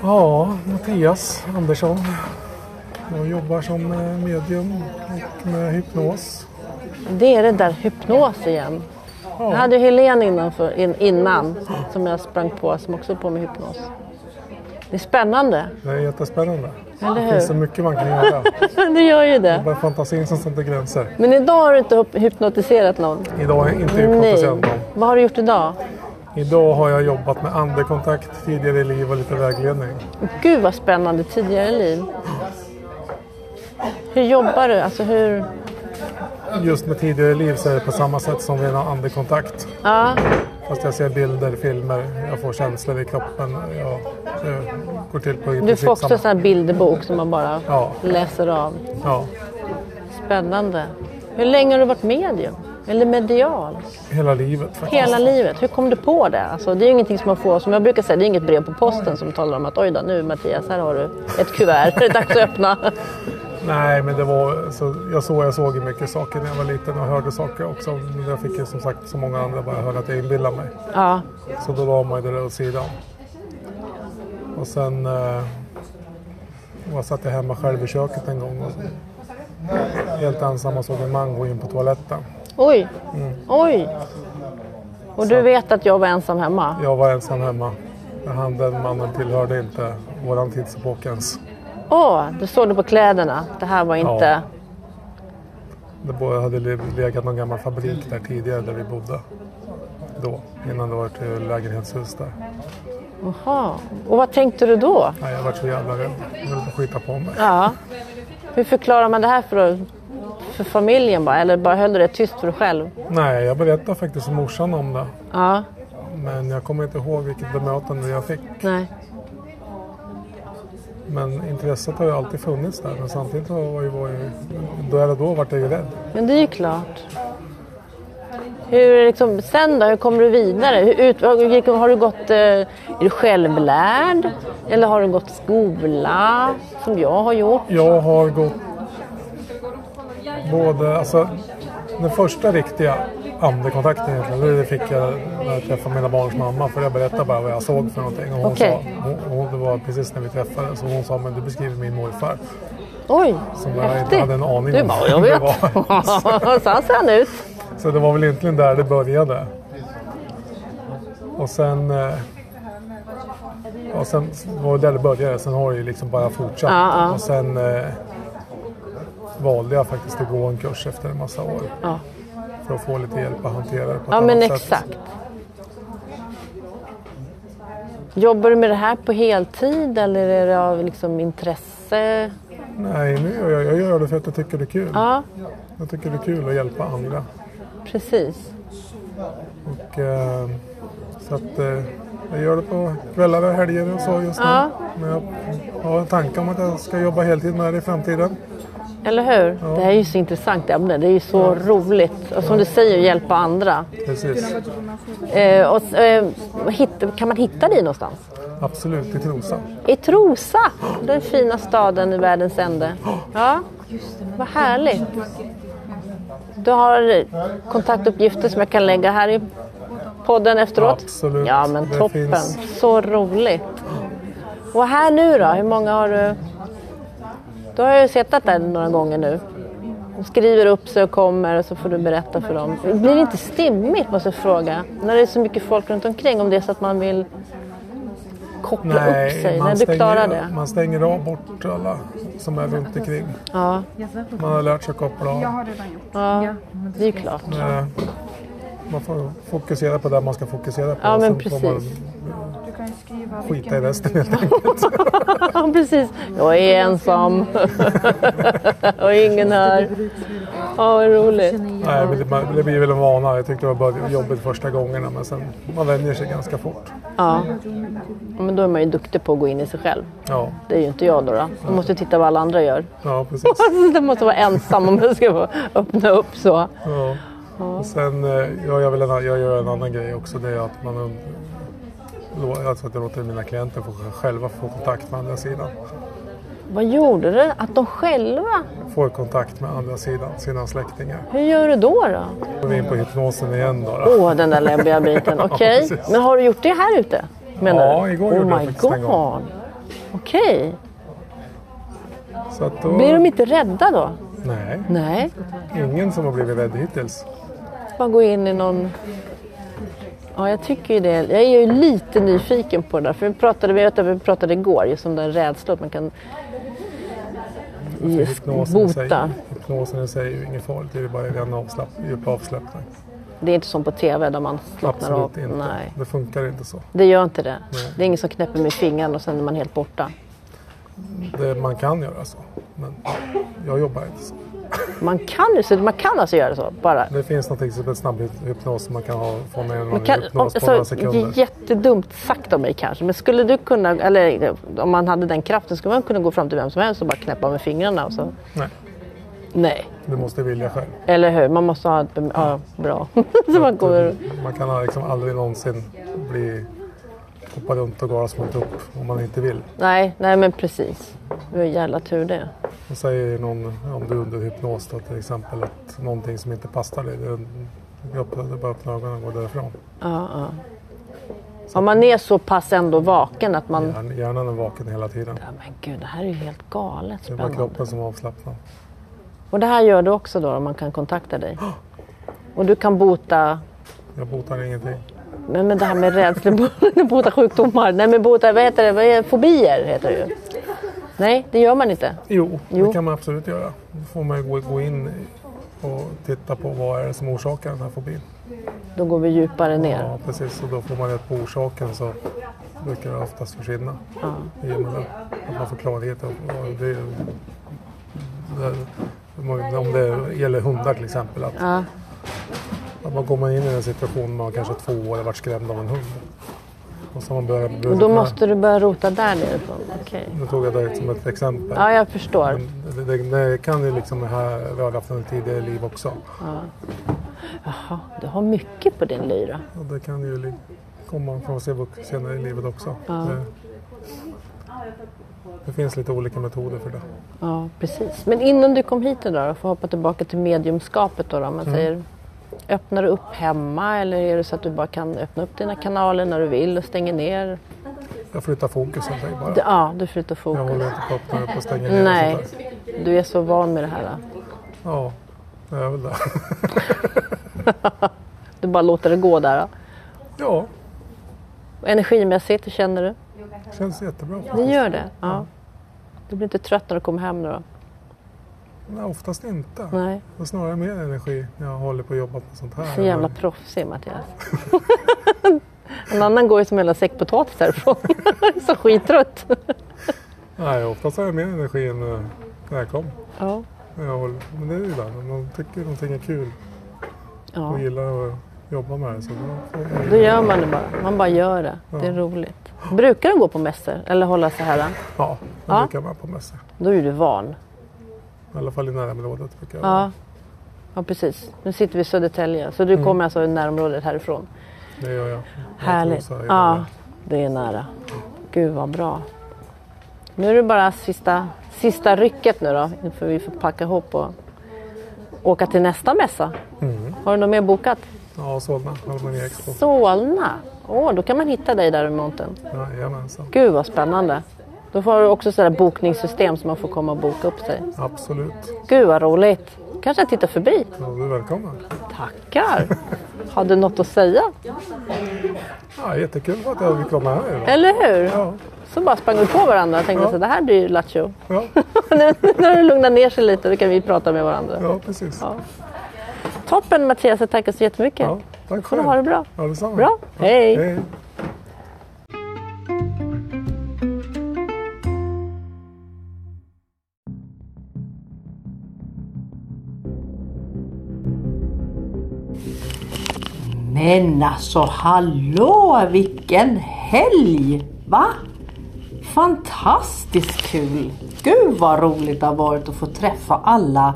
S5: ja, Mattias Andersson. Jag jobbar som eh, medium och med hypnos.
S3: Det är det där hypnos igen. Jag hade ju Helene innanför, in, innan som jag sprang på som också är på med hypnos. Det är spännande,
S5: Det är jättespännande.
S3: eller
S5: Det finns så
S3: hur?
S5: mycket man kan göra. Det
S3: Det gör ju det.
S5: är bara fantasin som sätter gränser.
S3: Men idag har du inte hyp- hypnotiserad någon?
S5: Idag är jag inte
S3: Nej.
S5: hypnotiserad någon.
S3: Vad har du gjort idag?
S5: Idag har jag jobbat med andekontakt tidigare i liv och lite vägledning.
S3: Gud vad spännande tidigare liv. Hur jobbar du? Alltså hur...
S5: Just med tidigare i liv så är det på samma sätt som vid en andekontakt.
S3: Ja,
S5: Fast jag ser bilder, filmer, jag får känslor i kroppen. Jag, det går till på i
S3: du
S5: princip
S3: får också
S5: samma-
S3: en sån här bilderbok som man bara
S5: Ja.
S3: läser av.
S5: Ja,
S3: Spännande. Hur länge har du varit medium? Eller medial?
S5: hela livet faktiskt.
S3: Hela livet. Hur kom du på det? Alltså, det är ju ingenting som man får, som jag brukar säga, det är inget brev på posten som talar om att oj då, nu Mattias, här har du ett kuvert, det är dags att öppna.
S5: Nej, men det var så, jag, såg, jag såg ju mycket saker när jag var liten och hörde saker också. Men Jag fick ju som sagt som många andra bara höra att jag inbillar mig.
S3: Ja,
S5: Så då la man ju det där åt sidan. Och sen eh, jag satt jag hemma själv i köket en gång. Och helt ensam och såg en man gå in på toaletten.
S3: oj, oj. Och du vet att jag var ensam hemma?
S5: Jag var ensam hemma. Han, den mannen tillhörde inte våran tidsepok ens.
S3: Åh, du såg det på kläderna. Det här var inte...
S5: Ja. Det bo- hade le- legat någon gammal fabrik där tidigare där vi bodde. Då, innan det var ett eh, lägenhetshus där.
S3: Jaha. Och vad tänkte du då?
S5: Nej, jag var så jävla rädd. Jag ville inte skita på mig.
S3: Ja. Hur förklarar man det här för, för familjen bara? Eller bara höll du det tyst för dig själv?
S5: Nej, jag berättade faktiskt för morsan om det.
S3: Ja.
S5: Men jag kommer inte ihåg vilket bemötande jag fick.
S3: Nej.
S5: Men intresset har ju alltid funnits där. Men samtidigt så var ju, var ju, då eller då vart jag ju rädd.
S3: Men det är ju klart. Hur, liksom, sen då, hur kommer du vidare? Hur, ut, har, har du gått, eh, är du självlärd? Eller har du gått skola, som jag har gjort?
S5: Jag har gått både, alltså den första riktiga andekontakten egentligen, det fick jag när jag träffade mina barns mamma. För jag berättade bara vad jag såg för någonting. Och hon
S3: Okej.
S5: sa, hon, hon, det var precis när vi träffades, och hon sa men du beskriver min morfar.
S3: Oj,
S5: Som jag inte
S3: häftigt.
S5: hade en aning
S3: Du
S5: om
S3: bara, jag
S5: vem det
S3: vet.
S5: var.
S3: Så ser han ut.
S5: Så det var väl egentligen där det började. Och sen... eh, Ja, sen var det där det började. Sen har det ju liksom bara fortsatt.
S3: Ja, ja.
S5: Och sen eh, valde jag faktiskt att gå en kurs efter en massa år.
S3: Ja.
S5: För att få lite hjälp att hantera det på ett
S3: Ja, men
S5: annat sätt.
S3: exakt. Jobbar du med det här på heltid eller är det av liksom intresse?
S5: Nej, nu gör jag, jag gör det för att jag tycker det är kul.
S3: Ja,
S5: Jag tycker det är kul att hjälpa andra.
S3: precis.
S5: Och, eh, så att, eh, jag gör det på kvällar och helger och så just nu.
S3: Ja.
S5: Men jag har en tanke om att jag ska jobba heltid med det i framtiden.
S3: Eller hur? Det här är ju så intressant ämne. Det är ju så roligt. Och som du säger, hjälpa andra.
S5: Precis.
S3: Eh, och, eh, hitt, kan man hitta dig någonstans?
S5: Absolut, i Trosa.
S3: I Trosa, den fina staden i världens ände. Ja, vad härligt. Du har kontaktuppgifter som jag kan lägga här i podden efteråt?
S5: Absolut,
S3: Ja, men
S5: det
S3: toppen.
S5: finns.
S3: Så roligt. Och här nu då, hur många har du? Du har ju suttit där några gånger nu. De skriver upp sig och kommer och så får du berätta för dem. Blir det inte stimmigt, måste jag fråga, när det är så mycket folk runt omkring om det är så att man vill koppla upp sig? När du klarar det?
S5: man stänger av bort alla som är runt omkring.
S3: Ja,
S5: Man har lärt sig att koppla av.
S3: ja, det är ju klart.
S5: Eh, Man får fokusera på det man ska fokusera på.
S3: Ja,
S5: och
S3: men
S5: sen får
S3: precis.
S5: Man eh, skita i resten helt enkelt.
S3: Ja, precis. Jag är ensam. och ingen hör. Ja, vad roligt.
S5: Nej, men det, man- det blir väl en vana. Jag tyckte det var bara jobbigt första gångerna men sen man vänjer sig ganska fort.
S3: Ja. Men då är man ju duktig på att gå in i sig själv.
S5: Ja,
S3: Det är ju inte jag då. då. Man måste titta vad alla andra gör.
S5: ja precis.
S3: Man måste vara ensam om man ska få öppna upp så.
S5: Ja. Och sen eh, jag gör väl en, jag gör en annan grej också. Det är att man und- lå- alltså att jag låter mina klienter få, själva få kontakt med andra sidan.
S3: Vad gjorde det? Att de själva?
S5: Får kontakt med andra sidan, sina släktingar.
S3: Hur gör du då? då?
S5: Då är vi in på hypnosen igen då.
S3: Åh,
S5: då.
S3: den där läbbiga biten. Okej.
S5: precis.
S3: Men har du gjort det här ute? Menar
S5: Ja,
S3: du?
S5: igår gjorde
S3: oh
S5: jag
S3: my
S5: faktiskt en gång.
S3: god. Okej.
S5: Så att då,
S3: Blir de inte rädda då?
S5: Nej,
S3: Nej.
S5: ingen som har blivit rädd hittills.
S3: man gå in i någon... Ja, jag tycker ju det. Jag är ju lite nyfiken på det där. För vi pratade, vi vet att vi pratade igår just om den rädslan att man kan
S5: För
S3: Yes,
S5: Hypnosen i sig-
S3: bota.
S5: hypnosen i sig är ju inget farligt. Det är ju bara en avslapp, djup avslappning.
S3: Det är inte som på tv där man slappnar av.
S5: Absolut inte.
S3: Nej,
S5: Det funkar inte så.
S3: det gör inte det. Det är ingen som knäpper med fingern och sen är man helt borta.
S5: Det, man kan göra så, men jag jobbar inte så.
S3: Man kan, ju- så man kan alltså göra så bara.
S5: Det finns någonting som heter snabbhypnos som man kan ha, få med någon
S3: Man kan,
S5: i
S3: om,
S5: hypnos på några
S3: alltså,
S5: sekunder.
S3: jättedumt sagt av mig kanske, men skulle du kunna, eller om man hade den kraften, skulle man kunna gå fram till vem som helst och bara knäppa med fingrarna och så?
S5: Nej,
S3: Nej.
S5: du måste vilja själv.
S3: Eller hur? Man måste ha ett bem- ja, bra. så man går...
S5: Man kan liksom aldrig någonsin bli hoppa runt och galas mot upp om man inte vill.
S3: Nej, nej men precis. Det var jävla tur det.
S5: Då säger någon, om du är under hypnos då, till exempel, att någonting som inte passar dig, det det är öppna- det är bara att öppna ögonen och gå därifrån.
S3: Ja, ja. Om man är så pass ändå vaken att man...
S5: Hjärn- Hjärnan är vaken hela tiden.
S3: Ja, men gud, det här är ju helt galet
S5: Det är bara
S3: spännande.
S5: kroppen som avslappnar.
S3: Och det här gör du också då, om man kan kontakta dig? Och du kan bota...
S5: Jag botar ingenting.
S3: Men, men det här med rädslor, bota sjukdomar. Nej men bota, vad heter det? Vad är, fobier heter det ju. Nej, det gör man inte.
S5: Jo,
S3: Jo.
S5: det kan man absolut göra. Då får man ju gå- gå in och titta på vad är det som orsakar den här fobin.
S3: Då går vi djupare ner.
S5: Ja, precis. Och då får man rätt på orsaken så brukar det oftast försvinna. Ja. I och med det. att man får klarhet. om- om Det, det, om det gäller hundar till exempel. Att,
S3: Ja.
S5: Då går man in i en situation man kanske två år har varit skrämd av en hund. Och så har man börjat,
S2: Och då måste du börja rota där nerifrån? Okej.
S5: Nu tog jag det som ett exempel.
S2: Ja, jag förstår.
S5: Det, det, det kan ju liksom här röra från ett tidigare liv också.
S2: Jaha, du har mycket på din lyra.
S5: Och det kan ju li- komma från sig vux- senare i livet också. Det, det finns lite olika metoder för det.
S2: Ja, precis. Men innan du kom hit idag då, för att hoppa tillbaka till mediumskapet då, då om man säger Öppnar du upp hemma eller är det så att du bara kan öppna upp dina kanaler när du vill och stänger ner?
S5: Jag flyttar fokus helt enkelt bara.
S2: Det- Ja, du flyttar
S5: Jag håller
S2: fokus.
S5: inte på att öppna upp och stänga ner. och
S2: Nej,
S5: sånt där.
S2: du är så van med det här. då.
S5: Ja, det är väl det.
S2: Du bara låter det gå där. då.
S5: Ja,
S2: Och Energimässigt, hur känner du?
S5: det känns jättebra.
S2: Det gör det? Ja. Du blir inte trött när du kommer hem nu då?
S5: Nej, oftast inte.
S2: Nej,
S5: Det är snarare mer energi när jag håller på och jobbar med sånt här.
S2: så jävla proffsig Mattias. En annan går ju som en jävla säck potatis därifrån. så skittrött.
S5: Nej, oftast har jag mer energi än eh, när jag kom.
S2: Ja.
S5: När jag håller. Men det är ju där, om man tycker någonting är kul
S2: Ja.
S5: och gillar att jobba med det så då får man
S2: Då
S5: ju...
S2: gör man det bara. Man bara gör det. Det är roligt. Brukar du gå på mässor eller hålla så här?
S5: Ja, det
S2: Ja.
S5: brukar jag vara på mässor.
S2: Då är du van.
S5: I alla fall i närområdet brukar jag vara.
S2: Ja. ja, precis. Nu sitter vi i Södertälje så du kommer alltså i närområdet härifrån.
S5: Det gör Mm. jag.
S2: Härligt.
S5: så här,
S2: ja, det är nära. Gud vad bra. Nu är det bara sista, sista rycket nu då inför vi får packa ihop och åka till nästa mässa.
S5: Mm.
S2: Har du något mer bokat?
S5: Ja, Solna, Harmonia Expo.
S2: Solna. Åh, då kan man hitta dig där i montern.
S5: Jajamensan,
S2: Gud vad spännande. Då får du också sådär bokningssystem så man får komma och boka upp sig.
S5: absolut.
S2: Gud vad roligt. Kanske jag tittar förbi.
S5: Ja, du är välkommen.
S2: Tackar. Har du något att säga?
S5: Ja, jättekul att jag fick vara med här idag.
S2: Eller hur?
S5: Ja,
S2: Så bara sprang vi på varandra och tänkte så det här blir ju lattjo.
S5: ja,
S2: nu när du lugnar ner sig lite då kan vi prata med varandra.
S5: ja precis. Ja,
S2: Toppen Mattias, jag tackar så jättemycket.
S5: tack
S2: Får du ha det bra.
S5: Ja, detsamma.
S2: Bra, hej.
S5: Hej.
S3: Men alltså hallå vilken helg! Va? Fantastiskt kul! Gud vad roligt det har varit att få träffa alla,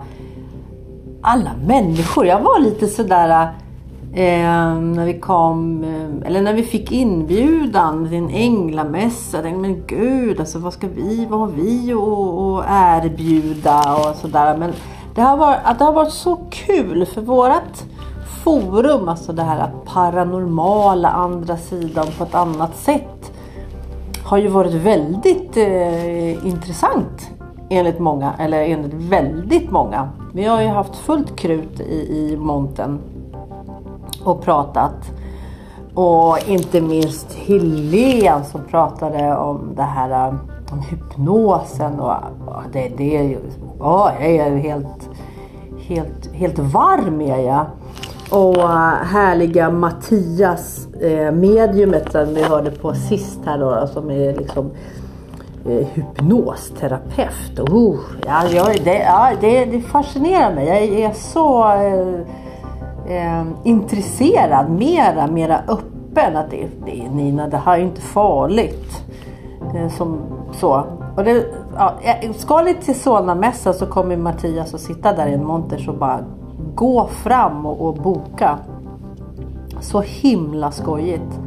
S3: alla människor. Jag var lite sådär eh, när vi kom, eh, eller när vi fick inbjudan till en änglamässa. Jag tänkte, men gud, alltså, vad ska vi, vad har vi att att erbjuda och sådär. Men det har, varit, att det har varit så kul för vårat forum, alltså det här paranormala, andra sidan på ett annat sätt har ju varit väldigt eh, intressant enligt många, eller enligt väldigt många. Vi har ju haft fullt krut i, i monten och pratat. Och inte minst Helene som pratade om det här eh, om hypnosen och och det, det är ju, ja, jag är ju helt, helt, helt varm är jag. Och eh, härliga Mattias eh, mediumet som vi hörde på sist här då, då, som är liksom eh, hypnosterapeut. Oh, ja, jag, det, ja, det, det fascinerar mig. Jag är så eh, eh, intresserad, mera, mera öppen. Att det, det, Nina, det här är inte farligt. Eh, som, så. Och det, ja, eh, ska ni till Solnamässan så kommer Mattias att sitta där i en monter så bara gå fram och, och boka. Så himla skojigt.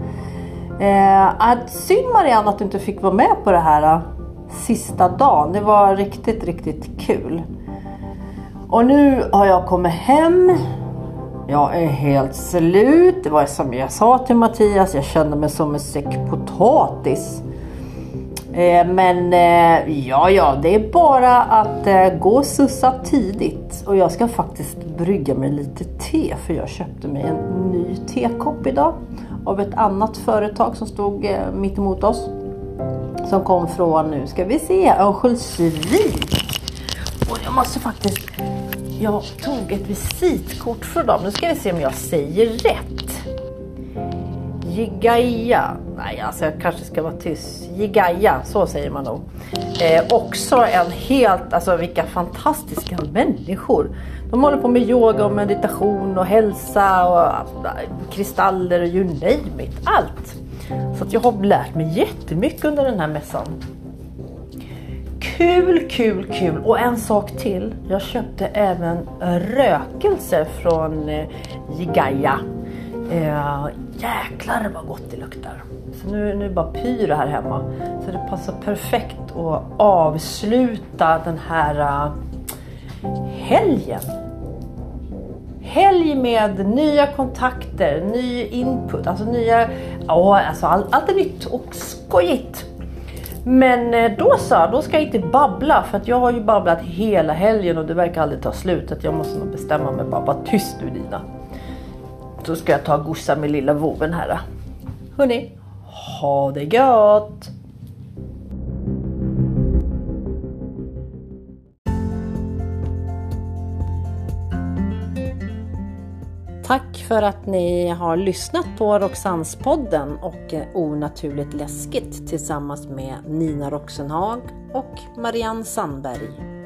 S3: Eh, att synd Marianne att du inte fick vara med på det här eh, sista dagen. Det var riktigt, riktigt kul. Och nu har jag kommit hem. Jag är helt slut. Det var som jag sa till Mattias, jag kände mig som en säck potatis. Eh, Men eh, ja, ja, det är bara att eh, gå och sussa tidigt. Och jag ska faktiskt brygga mig lite te för jag köpte mig en ny tekopp idag av ett annat företag som stod eh, mitt emot oss. Som kom från, nu ska vi se, Örnsköldsvik. Och jag måste faktiskt, jag tog ett visitkort för dem. Nu ska vi se om jag säger rätt. Jigaia. Nej, alltså jag kanske ska vara tyst. Jigaia, så säger man nog. Eh, också en helt, alltså vilka fantastiska människor. De håller på med yoga och meditation och hälsa och eh, kristaller och you name it, allt. Så att jag har lärt mig jättemycket under den här mässan. Kul, kul, kul! Och en sak till. Jag köpte även rökelse från eh, Jigaia. Eh, jäklar vad gott det luktar! Så nu, nu bara pyr det här hemma. Så det passar perfekt att avsluta den här eh, helgen. Helg med nya kontakter, ny input, alltså nya... Ja, alltså all, allt är nytt och skojigt. Men eh, då så, då ska jag inte babbla för att jag har ju babblat hela helgen och det verkar aldrig ta slut. Att jag måste nog bestämma mig bara, var tyst nu Dina. Då ska jag ta och gossa med lilla voven här. då. Hörni, ha det gött!
S1: Tack för att ni har lyssnat på Roxannespodden och eh, Onaturligt läskigt tillsammans med Nina Roxenhag och Marianne Sandberg.